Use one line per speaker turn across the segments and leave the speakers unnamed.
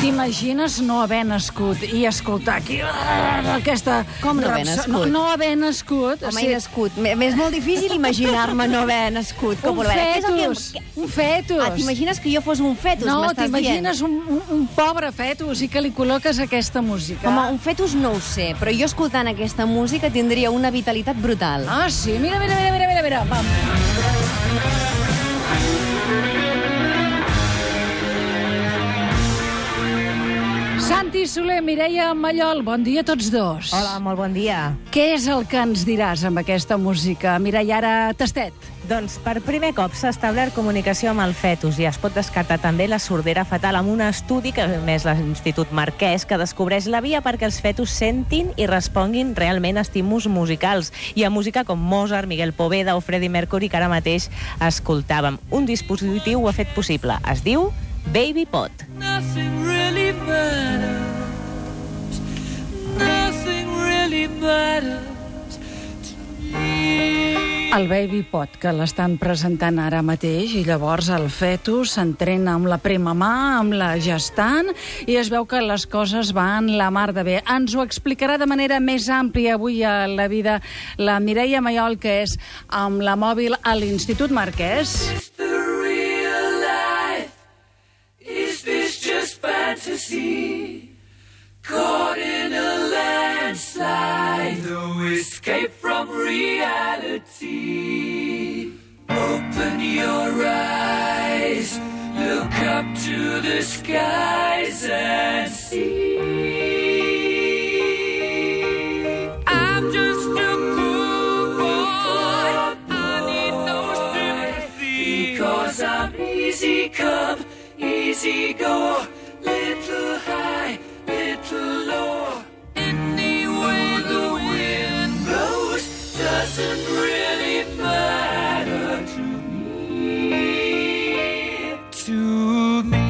T'imagines no haver nascut i escoltar aquí ah, aquesta...
Com no haver
rapsa-
nascut?
No, no haver nascut.
Home, sí. nascut. M- M'és molt difícil imaginar-me no haver nascut. Com
un
a veure, què és el que-
fetus. Un fetus.
Ah, t'imagines que jo fos un fetus,
No,
m'estàs dient?
t'imagines un, un, un pobre fetus i que li col·loques aquesta música.
Home, un fetus no ho sé, però jo escoltant aquesta música tindria una vitalitat brutal.
Ah, sí? Mira, mira, mira, mira, mira, mira. Vam. Santi Soler, Mireia Mallol, bon dia a tots dos.
Hola, molt bon dia.
Què és el que ens diràs amb aquesta música? Mireia, ara tastet.
Doncs per primer cop s'ha establert comunicació amb el fetus i es pot descartar també la sordera fetal amb un estudi que ha emès l'Institut Marquès que descobreix la via perquè els fetus sentin i responguin realment a estímuls musicals i a música com Mozart, Miguel Poveda o Freddie Mercury que ara mateix escoltàvem. Un dispositiu ho ha fet possible. Es diu Baby Pot.
Nothing really matters. Nothing really matters to me.
El Baby Pot, que l'estan presentant ara mateix, i llavors el fetus s'entrena amb la premamà, amb la gestant, i es veu que les coses van la mar de bé. Ens ho explicarà de manera més àmplia avui a la vida la Mireia Maiol, que és amb la mòbil a l'Institut Marquès.
The real life. Is this just fantasy? Caught in a landslide. No escape from reality. Open your eyes. Look up to the skies and see. I'm just a poor boy. I need no sympathy. Because I'm easy come, easy go. Little high, little low. Any way the wind blows doesn't really matter to me. To me.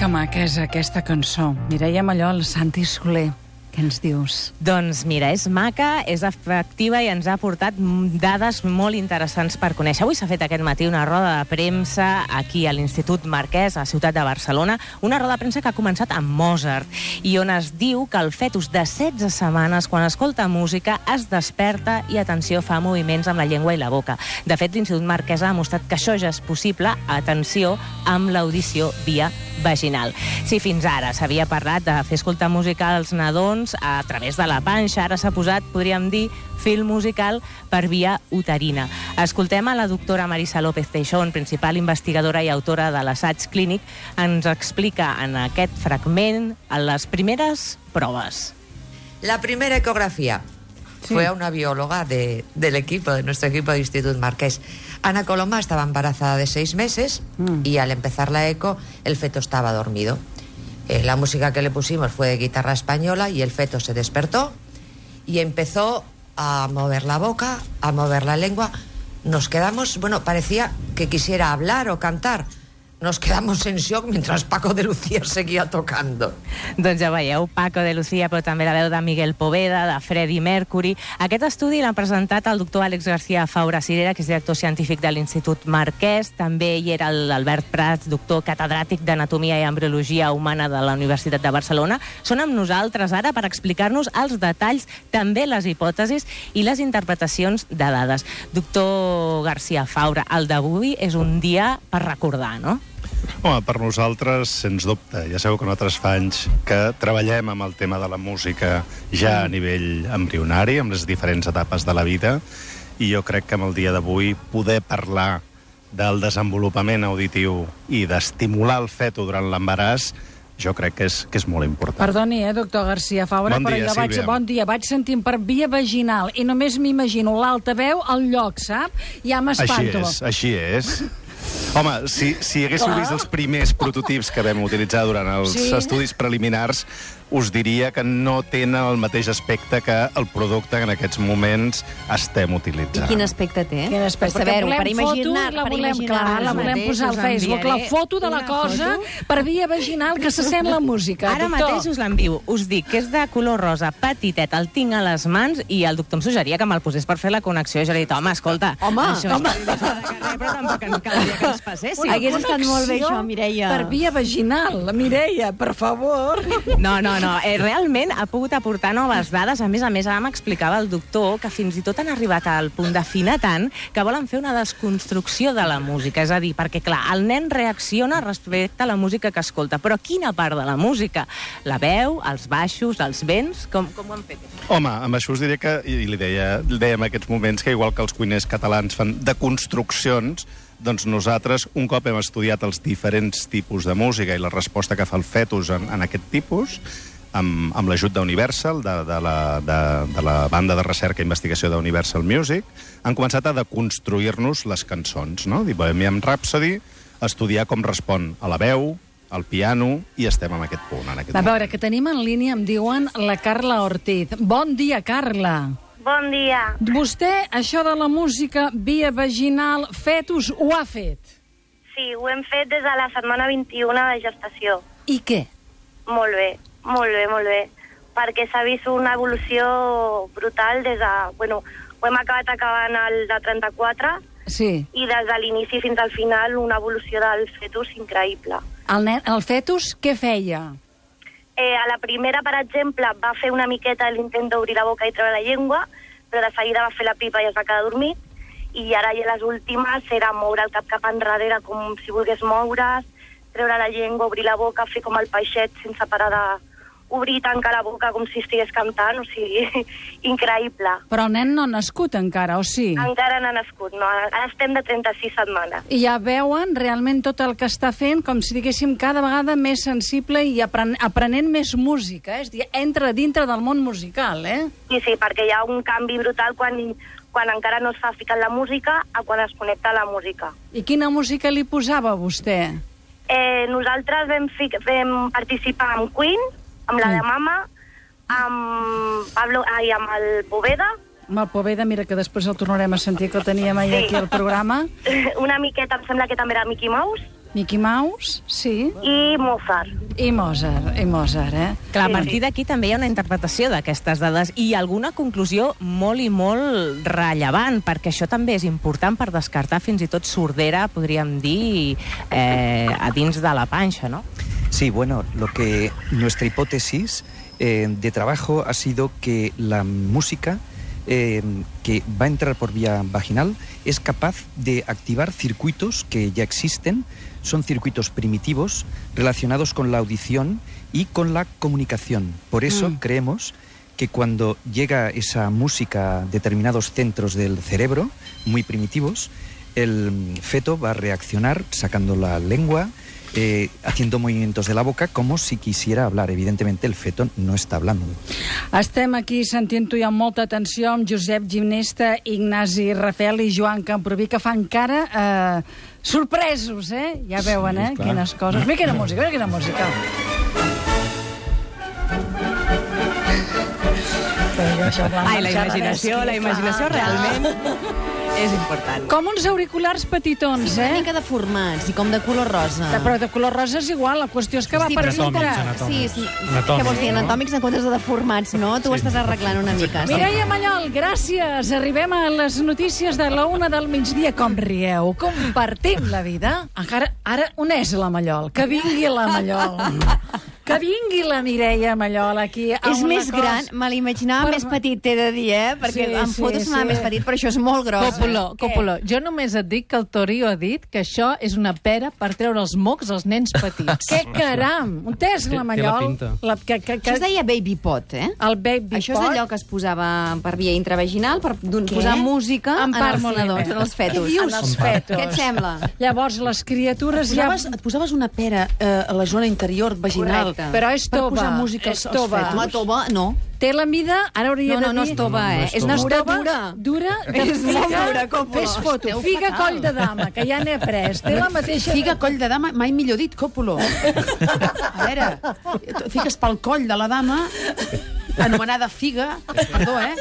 Que maca és aquesta cançó. Mireia Mallol, Santi Soler, què ens dius?
Doncs mira, és maca, és efectiva i ens ha portat mm, dades molt interessants per conèixer. Avui s'ha fet aquest matí una roda de premsa aquí a l'Institut Marquès, a la ciutat de Barcelona, una roda de premsa que ha començat amb Mozart i on es diu que el fetus de 16 setmanes, quan escolta música, es desperta i, atenció, fa moviments amb la llengua i la boca. De fet, l'Institut Marquès ha demostrat que això ja és possible, atenció, amb l'audició via vaginal. Si fins ara s'havia parlat de fer escoltar música als nadons a través de la panxa, ara s'ha posat, podríem dir, fil musical per via uterina. Escoltem a la doctora Marisa López Teixón, principal investigadora i autora de l'assaig clínic, ens explica en aquest fragment les primeres proves.
La primera ecografía fue a una bióloga de- del equipo, de nuestro equipo de Institut Marqués. Ana Coloma estaba embarazada de seis meses y al empezar la eco el feto estaba dormido. Eh, la música que le pusimos fue de guitarra española y el feto se despertó y empezó a mover la boca, a mover la lengua. Nos quedamos, bueno, parecía que quisiera hablar o cantar. Nos quedamos en shock mientras Paco de Lucía seguía tocando.
Doncs ja veieu, Paco de Lucía, però també la veu de Miguel Poveda, de Freddie Mercury. Aquest estudi l'han presentat el doctor Àlex García Faura Cirera, que és director científic de l'Institut Marquès. També hi era l'Albert Prats, doctor catedràtic d'Anatomia i Embriologia Humana de la Universitat de Barcelona. Són amb nosaltres ara per explicar-nos els detalls, també les hipòtesis i les interpretacions de dades. Doctor García Faura, el d'avui és un dia per recordar, no?
Home, per nosaltres, sens dubte. Ja sabeu que nosaltres fa anys que treballem amb el tema de la música ja a nivell embrionari, amb les diferents etapes de la vida, i jo crec que amb el dia d'avui poder parlar del desenvolupament auditiu i d'estimular el feto durant l'embaràs, jo crec que és, que és molt important.
Perdoni, eh, doctor García Faura,
Bon
però
dia,
jo vaig,
Sílvia.
bon dia, vaig sentint per via vaginal i només m'imagino l'altaveu al lloc, sap? Ja
Així
m'espanto.
és, així és. Home, si, si haguéssiu vist els primers prototips que vam utilitzar durant els
Sí.
estudis preliminars, us diria que no tenen el mateix aspecte que el producte que en aquests moments estem
I
utilitzant.
quin aspecte té?
Quin aspecte?
Per saber-ho,
Perquè
per
Eh? volem
imaginar
fotos, la
per
volem,
imaginar
clar, la
els
volem
mateixos,
posar al
us
Facebook, la
enviaré
foto de la
una
cosa per via vaginal que se sent la música,
Ara
doctor.
mateix us l'envio. Us dic que és de color rosa, petitet, el tinc a les mans i el doctor em suggeria que me'l posés per fer la connexió. Jo li he dit, home, escolta...
Home,
home. Però tampoc ens caldria que ens passessi.
Una- Hagués estat molt bé,
connexió
això, Mireia.
Per via vaginal, la Mireia, per favor.
No, no, no. Eh, realment ha pogut aportar noves dades. A més a més, ara m'explicava el doctor que fins i tot han arribat al punt d'afinar tant que volen fer una desconstrucció de la música. És a dir, perquè, clar, el nen reacciona respecte a la música que escolta. Però quina part de la música? La veu, els baixos, els vents? Com, com ho han fet?
Home, amb això us diré que, i i li deia, li deia en aquests moments que igual que els cuiners catalans fan de construccions, doncs nosaltres, un cop hem estudiat els diferents tipus de música i la resposta que fa el fetus en, en aquest tipus, amb, amb l'ajut d'Universal, de, de, la, de, de la banda de recerca i investigació d'Universal Music, han començat a deconstruir-nos les cançons, no? Dir, Bohemian Rhapsody, estudiar com respon a la veu, al piano, i estem en aquest punt, en aquest
A
moment.
veure, que tenim en línia, em diuen, la Carla Ortiz. Bon dia, Carla.
Bon dia.
Vostè, això de la música via vaginal, fetus, ho ha fet.
Sí, ho hem fet des de la setmana 21 de gestació.
I què?
Molt bé, molt bé, molt bé. Perquè s'ha vist una evolució brutal des de... Bueno, ho hem acabat acabant el de 34
Sí.
i des de l'inici fins al final una evolució del fetus increïble.
El, nen, el fetus què feia?
Eh, a la primera, per exemple, va fer una miqueta l'intent d'obrir la boca i treure la llengua, però de seguida va fer la pipa i es va quedar dormit, i ara ja les últimes era moure el cap cap enrere com si volgués moure's, treure la llengua, obrir la boca, fer com el peixet sense parar de obrir i tancar la boca com si estigués cantant, o sigui, increïble.
Però el nen no ha nascut encara, o sí?
Encara n'ha nascut, no? Ara estem de 36 setmanes.
I ja veuen realment tot el que està fent, com si diguéssim cada vegada més sensible i apren aprenent més música, eh? és a dir, entra dintre del món musical, eh?
Sí, sí, perquè hi ha un canvi brutal quan, quan encara no s'ha ficat la música a quan es connecta a la música.
I quina música li posava vostè?
Eh, nosaltres vam, fi, vam participar amb Queen, amb la de Mama, amb, Pablo, ai, amb el Boveda,
Amb el Poveda, mira que després el tornarem a sentir, que el teníem ahir
Sí.
aquí al programa.
una miqueta, em sembla que també era Mickey Mouse,
Mickey Mouse, sí,
i Mozart.
i Mozart, i Mozart, eh?
Clar, a partir d'aquí també hi ha una interpretació d'aquestes dades i alguna conclusió molt i molt rellevant, perquè això també és important per descartar fins i tot sordera, podríem dir, eh, a dins de la panxa, no?
Sí, bueno, lo que nuestra hipótesis eh, de trabajo ha sido que la música eh, que va a entrar por vía vaginal es capaz de activar circuitos que ya existen, son circuitos primitivos relacionados con la audición y con la comunicación. Por eso
Mm.
creemos que cuando llega esa música a determinados centros del cerebro, muy primitivos, el mm, feto va a reaccionar sacando la lengua, eh, haciendo movimientos de la boca como si quisiera hablar. Evidentemente el feto no está hablando.
Estem aquí sentint-ho i amb molta atenció amb Josep Gimnesta, Ignasi Rafel i Joan Camproví, que fan cara eh, sorpresos, eh? Ja veuen, eh?
clar.
Quines coses. Mira quina música, mira quina música.
Ah,
Ai, la imaginació, la imaginació realment és important.
Com uns auriculars petitons,
Una
eh?
mica deformats i com de color rosa.
De, però de color rosa és igual, la qüestió és que va
Sí,
per
però és un
dintre.
Anatòmics, anatòmics.
Sí, sí.
Anatòmics,
Què vols dir,
no?
anatòmics en comptes de deformats, no? Tu ho estàs arreglant una mica. sí.
Mireia Mallol, gràcies. Arribem a les notícies de la una del migdia. Com rieu, compartim la vida. Encara, ara, on és la Mallol? Que vingui la Mallol. Que vingui la Mireia Mallol aquí. a
És
una
més
cosa-
gran, me l'imaginava
Per-
més petit, t'he de dir, eh? Perquè
Sí,
en
sí,
fotos m'ha
sí.
més petit, però això és molt gros. eh?
Coppola,
Què?
Coppola, jo només et dic que el Torio ha dit que això és una pera per treure els mocs als nens petits.
Que caram, on és
Té-
la
té la
Mallol?
pinta.
la que, que,
Això es
que,
deia baby pot, eh?
el baby
Això és
pot.
allò que es posava per via intravaginal, per don- posar música
Em
en,
parlo
els nadons,
bé.
en els fetos.
Què dius?
En
En els
els
fetos.
Què et sembla?
Llavors, les criatures
Posaves,
ja...
et posaves una pera eh, a la zona interior vaginal
música.
Però és
Per
tova.
posar música als-
és
als
tova.
fetus.
Home, tova, no.
Té la mida, ara hauria
No,
de
no,
dir...
no és tova,
No, no, no
eh?
és
És una
tova.
estora
Tova,
dura.
dura que
És
figa,
molt dura, com
fes
vols.
foto,
Esteu
figa
fatal.
coll de dama, que ja n'he après. Té la mateixa...
Figa coll de dama, mai millor dit, còpulo. A veure, tu fiques pel coll de la dama, anomenada figa, perdó, eh?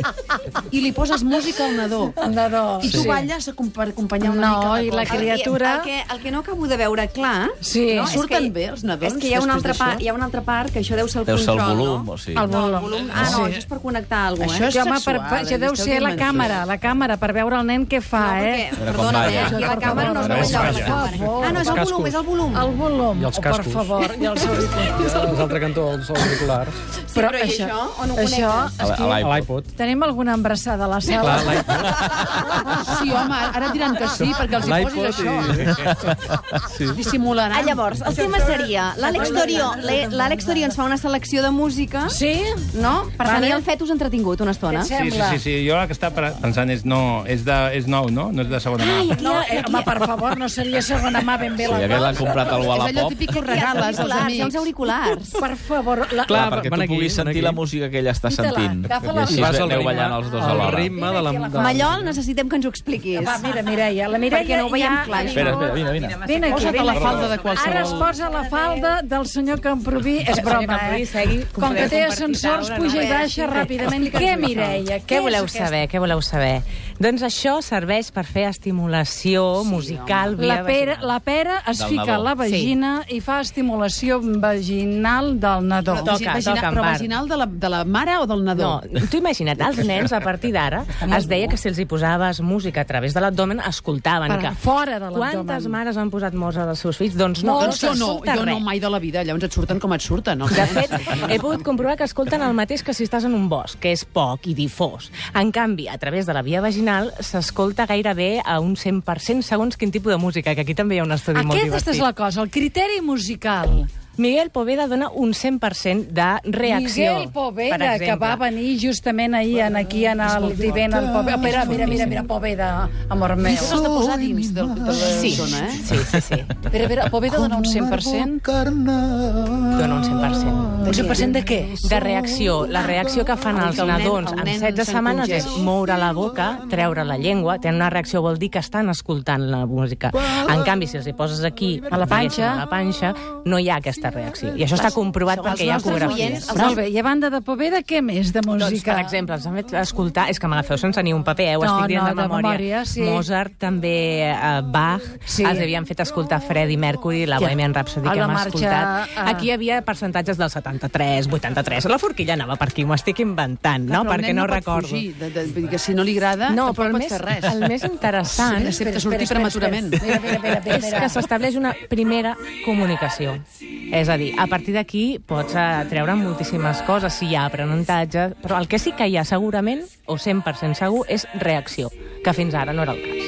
I li poses música al nadó.
Andador.
I tu balles acom- per acompanyar una
No,
mica
i la
de cor.
cria- criatura-
El que, el que, el que no acabo de veure clar...
Sí.
no,
Surten
és que,
bé els nadons
És que hi ha, una
després
altra
d'això?
part, hi ha una altra part, que això deu ser el
Deu ser el
control,
volum,
no?
o sigui.
El
No, el
volum.
volum... Ah, no, això és per connectar a algú, eh?
Això és
Jo, home, per,
sexual,
per, ja
eh?
deu
Esteu
ser la
dient
càmera, la càmera, per veure el nen què fa,
No, perquè,
eh?
perdona,
quan
eh?
balla.
aquí la
Quan
càmera no es
balla.
veu ja, la
Per
càmera.
favor.
Ah, no, és el
Els
volum,
cascos.
és el volum.
El volum,
I els
oh, per
cascos.
favor, i els auriculars.
I a l'altre cantó, els auriculars.
Sí, però, i això, on ho
això,
connectes?
A la- a
A
l'iPod.
l'iPod.
Tenim alguna embrassada a la sala?
Clar, l'iPod.
Sí, home, ara et diran que sí, perquè els hi posis això.
Ah,
Dissimularan.
llavors, el tema seria, l'Àlex Torio, l'E- l'Àlex Torio ens fa una selecció de música,
Sí?
no? Per
Vale.
tenir el fetus entretingut una estona.
Què et sembla?
Sí, sí, sí, jo el que estava pensant és, no, és, de, és nou, no? No és de segona mà.
No, eh, home, per favor, no seria segona mà ben bé
Sí,
la
aquest l'han comprat al
És allò
Wallapop.
típic que regales als
auriculars, hi ha
amics.
uns auriculars.
Per favor,
Clar,
la...
Clar,
perquè
van
tu
aquí,
puguis
van
sentir
aquí.
la música que ella està
Mira-la,
sentint.
agafa
I
la-
així
Vas
es aneu ballant els dos
al
alhora.
ritme de la... De...
Mallol, necessitem que ens ho expliquis.
Va, mira, Mireia, la Mireia
Perquè no ho veiem
ja...
clar, això.
Espera, espera, vine, vine.
Vine aquí,
Posa't a
vine
la
aquí.
falda de qualsevol-
Ara es posa la falda del senyor Camproví. És broma, eh? Com que té ascensors, puja i baixa ràpidament. Què, Mireia?
Què voleu
és aquest?
saber? Què voleu saber? Doncs això serveix per fer estimulació musical
La
via
pera,
vaginal.
la pera es
Del
fica
nadó.
a la vagina i fa estimulació vaginal del nadó.
Però toca,
Vagina-
toca en
però
part.
vaginal de la, de la mare o del nadó?
No, tu imagina't, els nens, a partir d'ara, es deia que si els hi posaves música a través de l'abdomen, escoltaven
Per
que...
fora de l'abdomen.
Quantes mares han posat mosa dels seus fills? Doncs no,
doncs jo no,
s'escolta
jo no
res.
mai de la vida. Llavors et surten com et surten. No?
De fet, he pogut comprovar que escolten el mateix que si estàs en un bosc, que és poc i difós. En canvi, a través de la via vaginal s'escolta gairebé a un 100% segons quin tipus de música, que aquí també hi ha un estudi molt divertit.
Aquesta és la cosa, el criteri musical.
Miguel Poveda dona un 100% de reacció.
Miguel
per
Poveda,
exemple.
que va venir justament ahir en aquí en el divent al Poveda. Mira, mira, mira, mira, Poveda, amor meu.
Això has de posar dins del, de la
Sí.
zona, eh?
Sí, sí, sí.
Espera, espera, Poveda dona un 100%?
Dona un 100%.
Un 100% de què?
De reacció. La reacció que fan els
el nen-
nadons
el
amb
nen
16
se'n
setmanes és
congeix.
moure la boca, treure la llengua. Tenen una reacció, vol dir que estan escoltant la música. En canvi, si els hi poses aquí,
A la panxa.
diguéssim, a la panxa, no hi ha aquesta reacció. I això està comprovat perquè hi ha cografies.
Molt bé, i a banda de Poveda, què més de música?
Doncs, per exemple, ens han fet escoltar... És que m'agafeu sense ni un paper, eh? Ho
No,
estic dient
no,
de
de
memòria.
memòria, sí.
Mozart, també eh, Bach,
Sí.
sí. els havien fet escoltar Freddie Mercury, la
Ja.
Bohemian Rhapsody
A
que
la
hem
marxa,
escoltat.
eh.
Aquí hi havia percentatges del 73, 83. La forquilla anava per aquí, m'ho estic inventant,
Però
no?
el
Perquè
nen
no,
pot
recordo.
Fugir, de, de, vull dir que si no li agrada,
No,
tampoc
però el
pot
més,
fer res.
el més interessant
Excepte
Espera,
sortir
espera, espera,
prematurament.
espera. Mira, mira, mira,
és
mira.
que s'estableix una primera comunicació. És a dir, a partir d'aquí pots eh, treure moltíssimes coses, si hi ha aprenentatge, però el que sí que hi ha segurament, o 100% segur, és reacció, que fins ara no era el cas.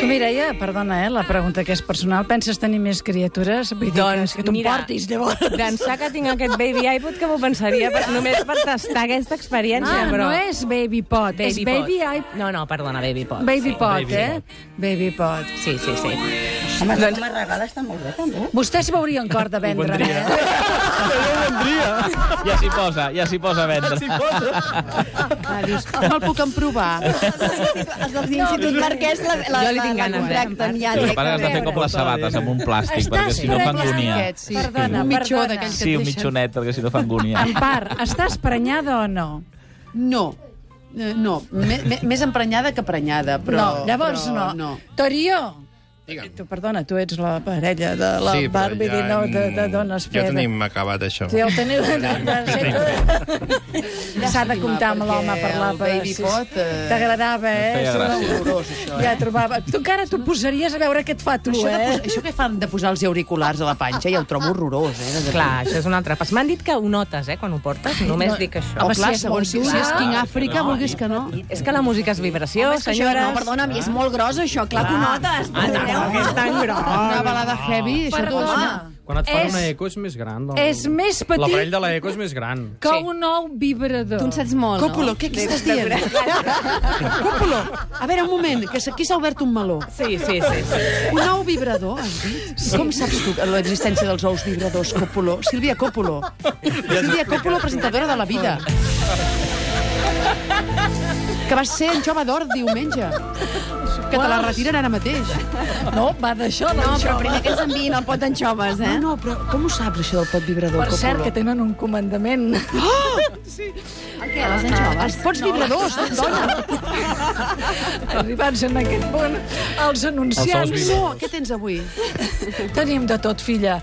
Tu, Mireia, perdona, eh, la pregunta que és personal, penses tenir més criatures? Vull dir doncs, que, que tu em portis, llavors.
D'ençà que tinc aquest baby iPod, que m'ho pensaria per, només per tastar aquesta
Ah,
experiència,
no
però...
és Baby Pot, baby és Baby
Pod.
iPod.
No, no, perdona, Baby Pod.
Baby
sí.
Pot, eh? Baby Pot.
Sí, sí, sí. Doncs-
Vostè s'hi veuria en cor de vendre, eh?
Ja s'hi posa, ja s'hi posa a vendre.
Ah, dius, me'l puc emprovar.
Els dels Institut Marquès la, la,
Jo li tinc ganes, eh, en
contracten ja
El que passa és que has de fer
directament.
com les sabates, amb un plàstic,
Estàs
perquè si no fan
prenyada.
agonia.
Aquest, sí.
Perdona,
un mitjó
perdona.
d'aquells que
Sí,
et
un
deixen.
mitjonet, perquè si no fan agonia.
Empar, estàs prenyada o no?
No, Eh, no, me, me, més emprenyada que prenyada, però...
no, llavors
però
no.
no.
Torió, tu, perdona, tu ets la parella de la
Sí, però
Barbie
ja
Dinou de, de
en-
Dones
Ja
Fredes.
tenim acabat, això.
Sí, el teniu de, de, de... S'ha de comptar amb l'home per la...
Perquè el Baby
si-
Pot, eh,
T'agradava, eh?
em feia
Sembla
gràcia.
horrorós, això, eh? Ja trobava... Tu encara t'ho posaries a veure què et fa tu,
Això, de,
eh?
pos- això que fan de posar els auriculars a la panxa ja ho trobo horrorós, eh? de-
Clar, això és un altre pas. M'han dit que ho notes, eh, quan ho portes. Només dic això.
O
Home,
clar,
si és
segons si,
molt
si és
clar.
King Africa, vulguis que no.
És que la música és vibració,
Home, és que això,
senyores.
no, perdona'm,
Ah.
i és molt gros, això, clar que ho notes.
Ah, tampoc és tan gros.
Una balada heavy, això tu...
Perdona.
això-
Quan et fan
És-
una
Eh.
eco és més gran.
és més petit-
L'aparell de l'eco és més gran.
Que sí. un nou vibrador. Tu en
saps molt,
Còpolo, què, què estàs dient? Còpolo, a veure, un moment, que aquí s'ha obert un meló.
Sí, sí, sí, sí.
Un ou vibrador, has dit? Com saps tu l'existència dels ous vibradors, Còpolo? Sílvia Còpolo. Sílvia Còpolo, presentadora de La Vida. Que va ser en Jove d'Or diumenge. Que te la retiren ara mateix.
No, va d'això,
No, però primer que ens enviïn el pot d'anxoves, eh?
No, no, però com ho saps, això del pot vibrador,
Per cert, que tenen un comandament.
Oh!
El què, les anxoves?
Els pots vibradors, dona.
Arribats en aquest món, els anunciants.
No, què tens avui?
Tenim de tot, filla.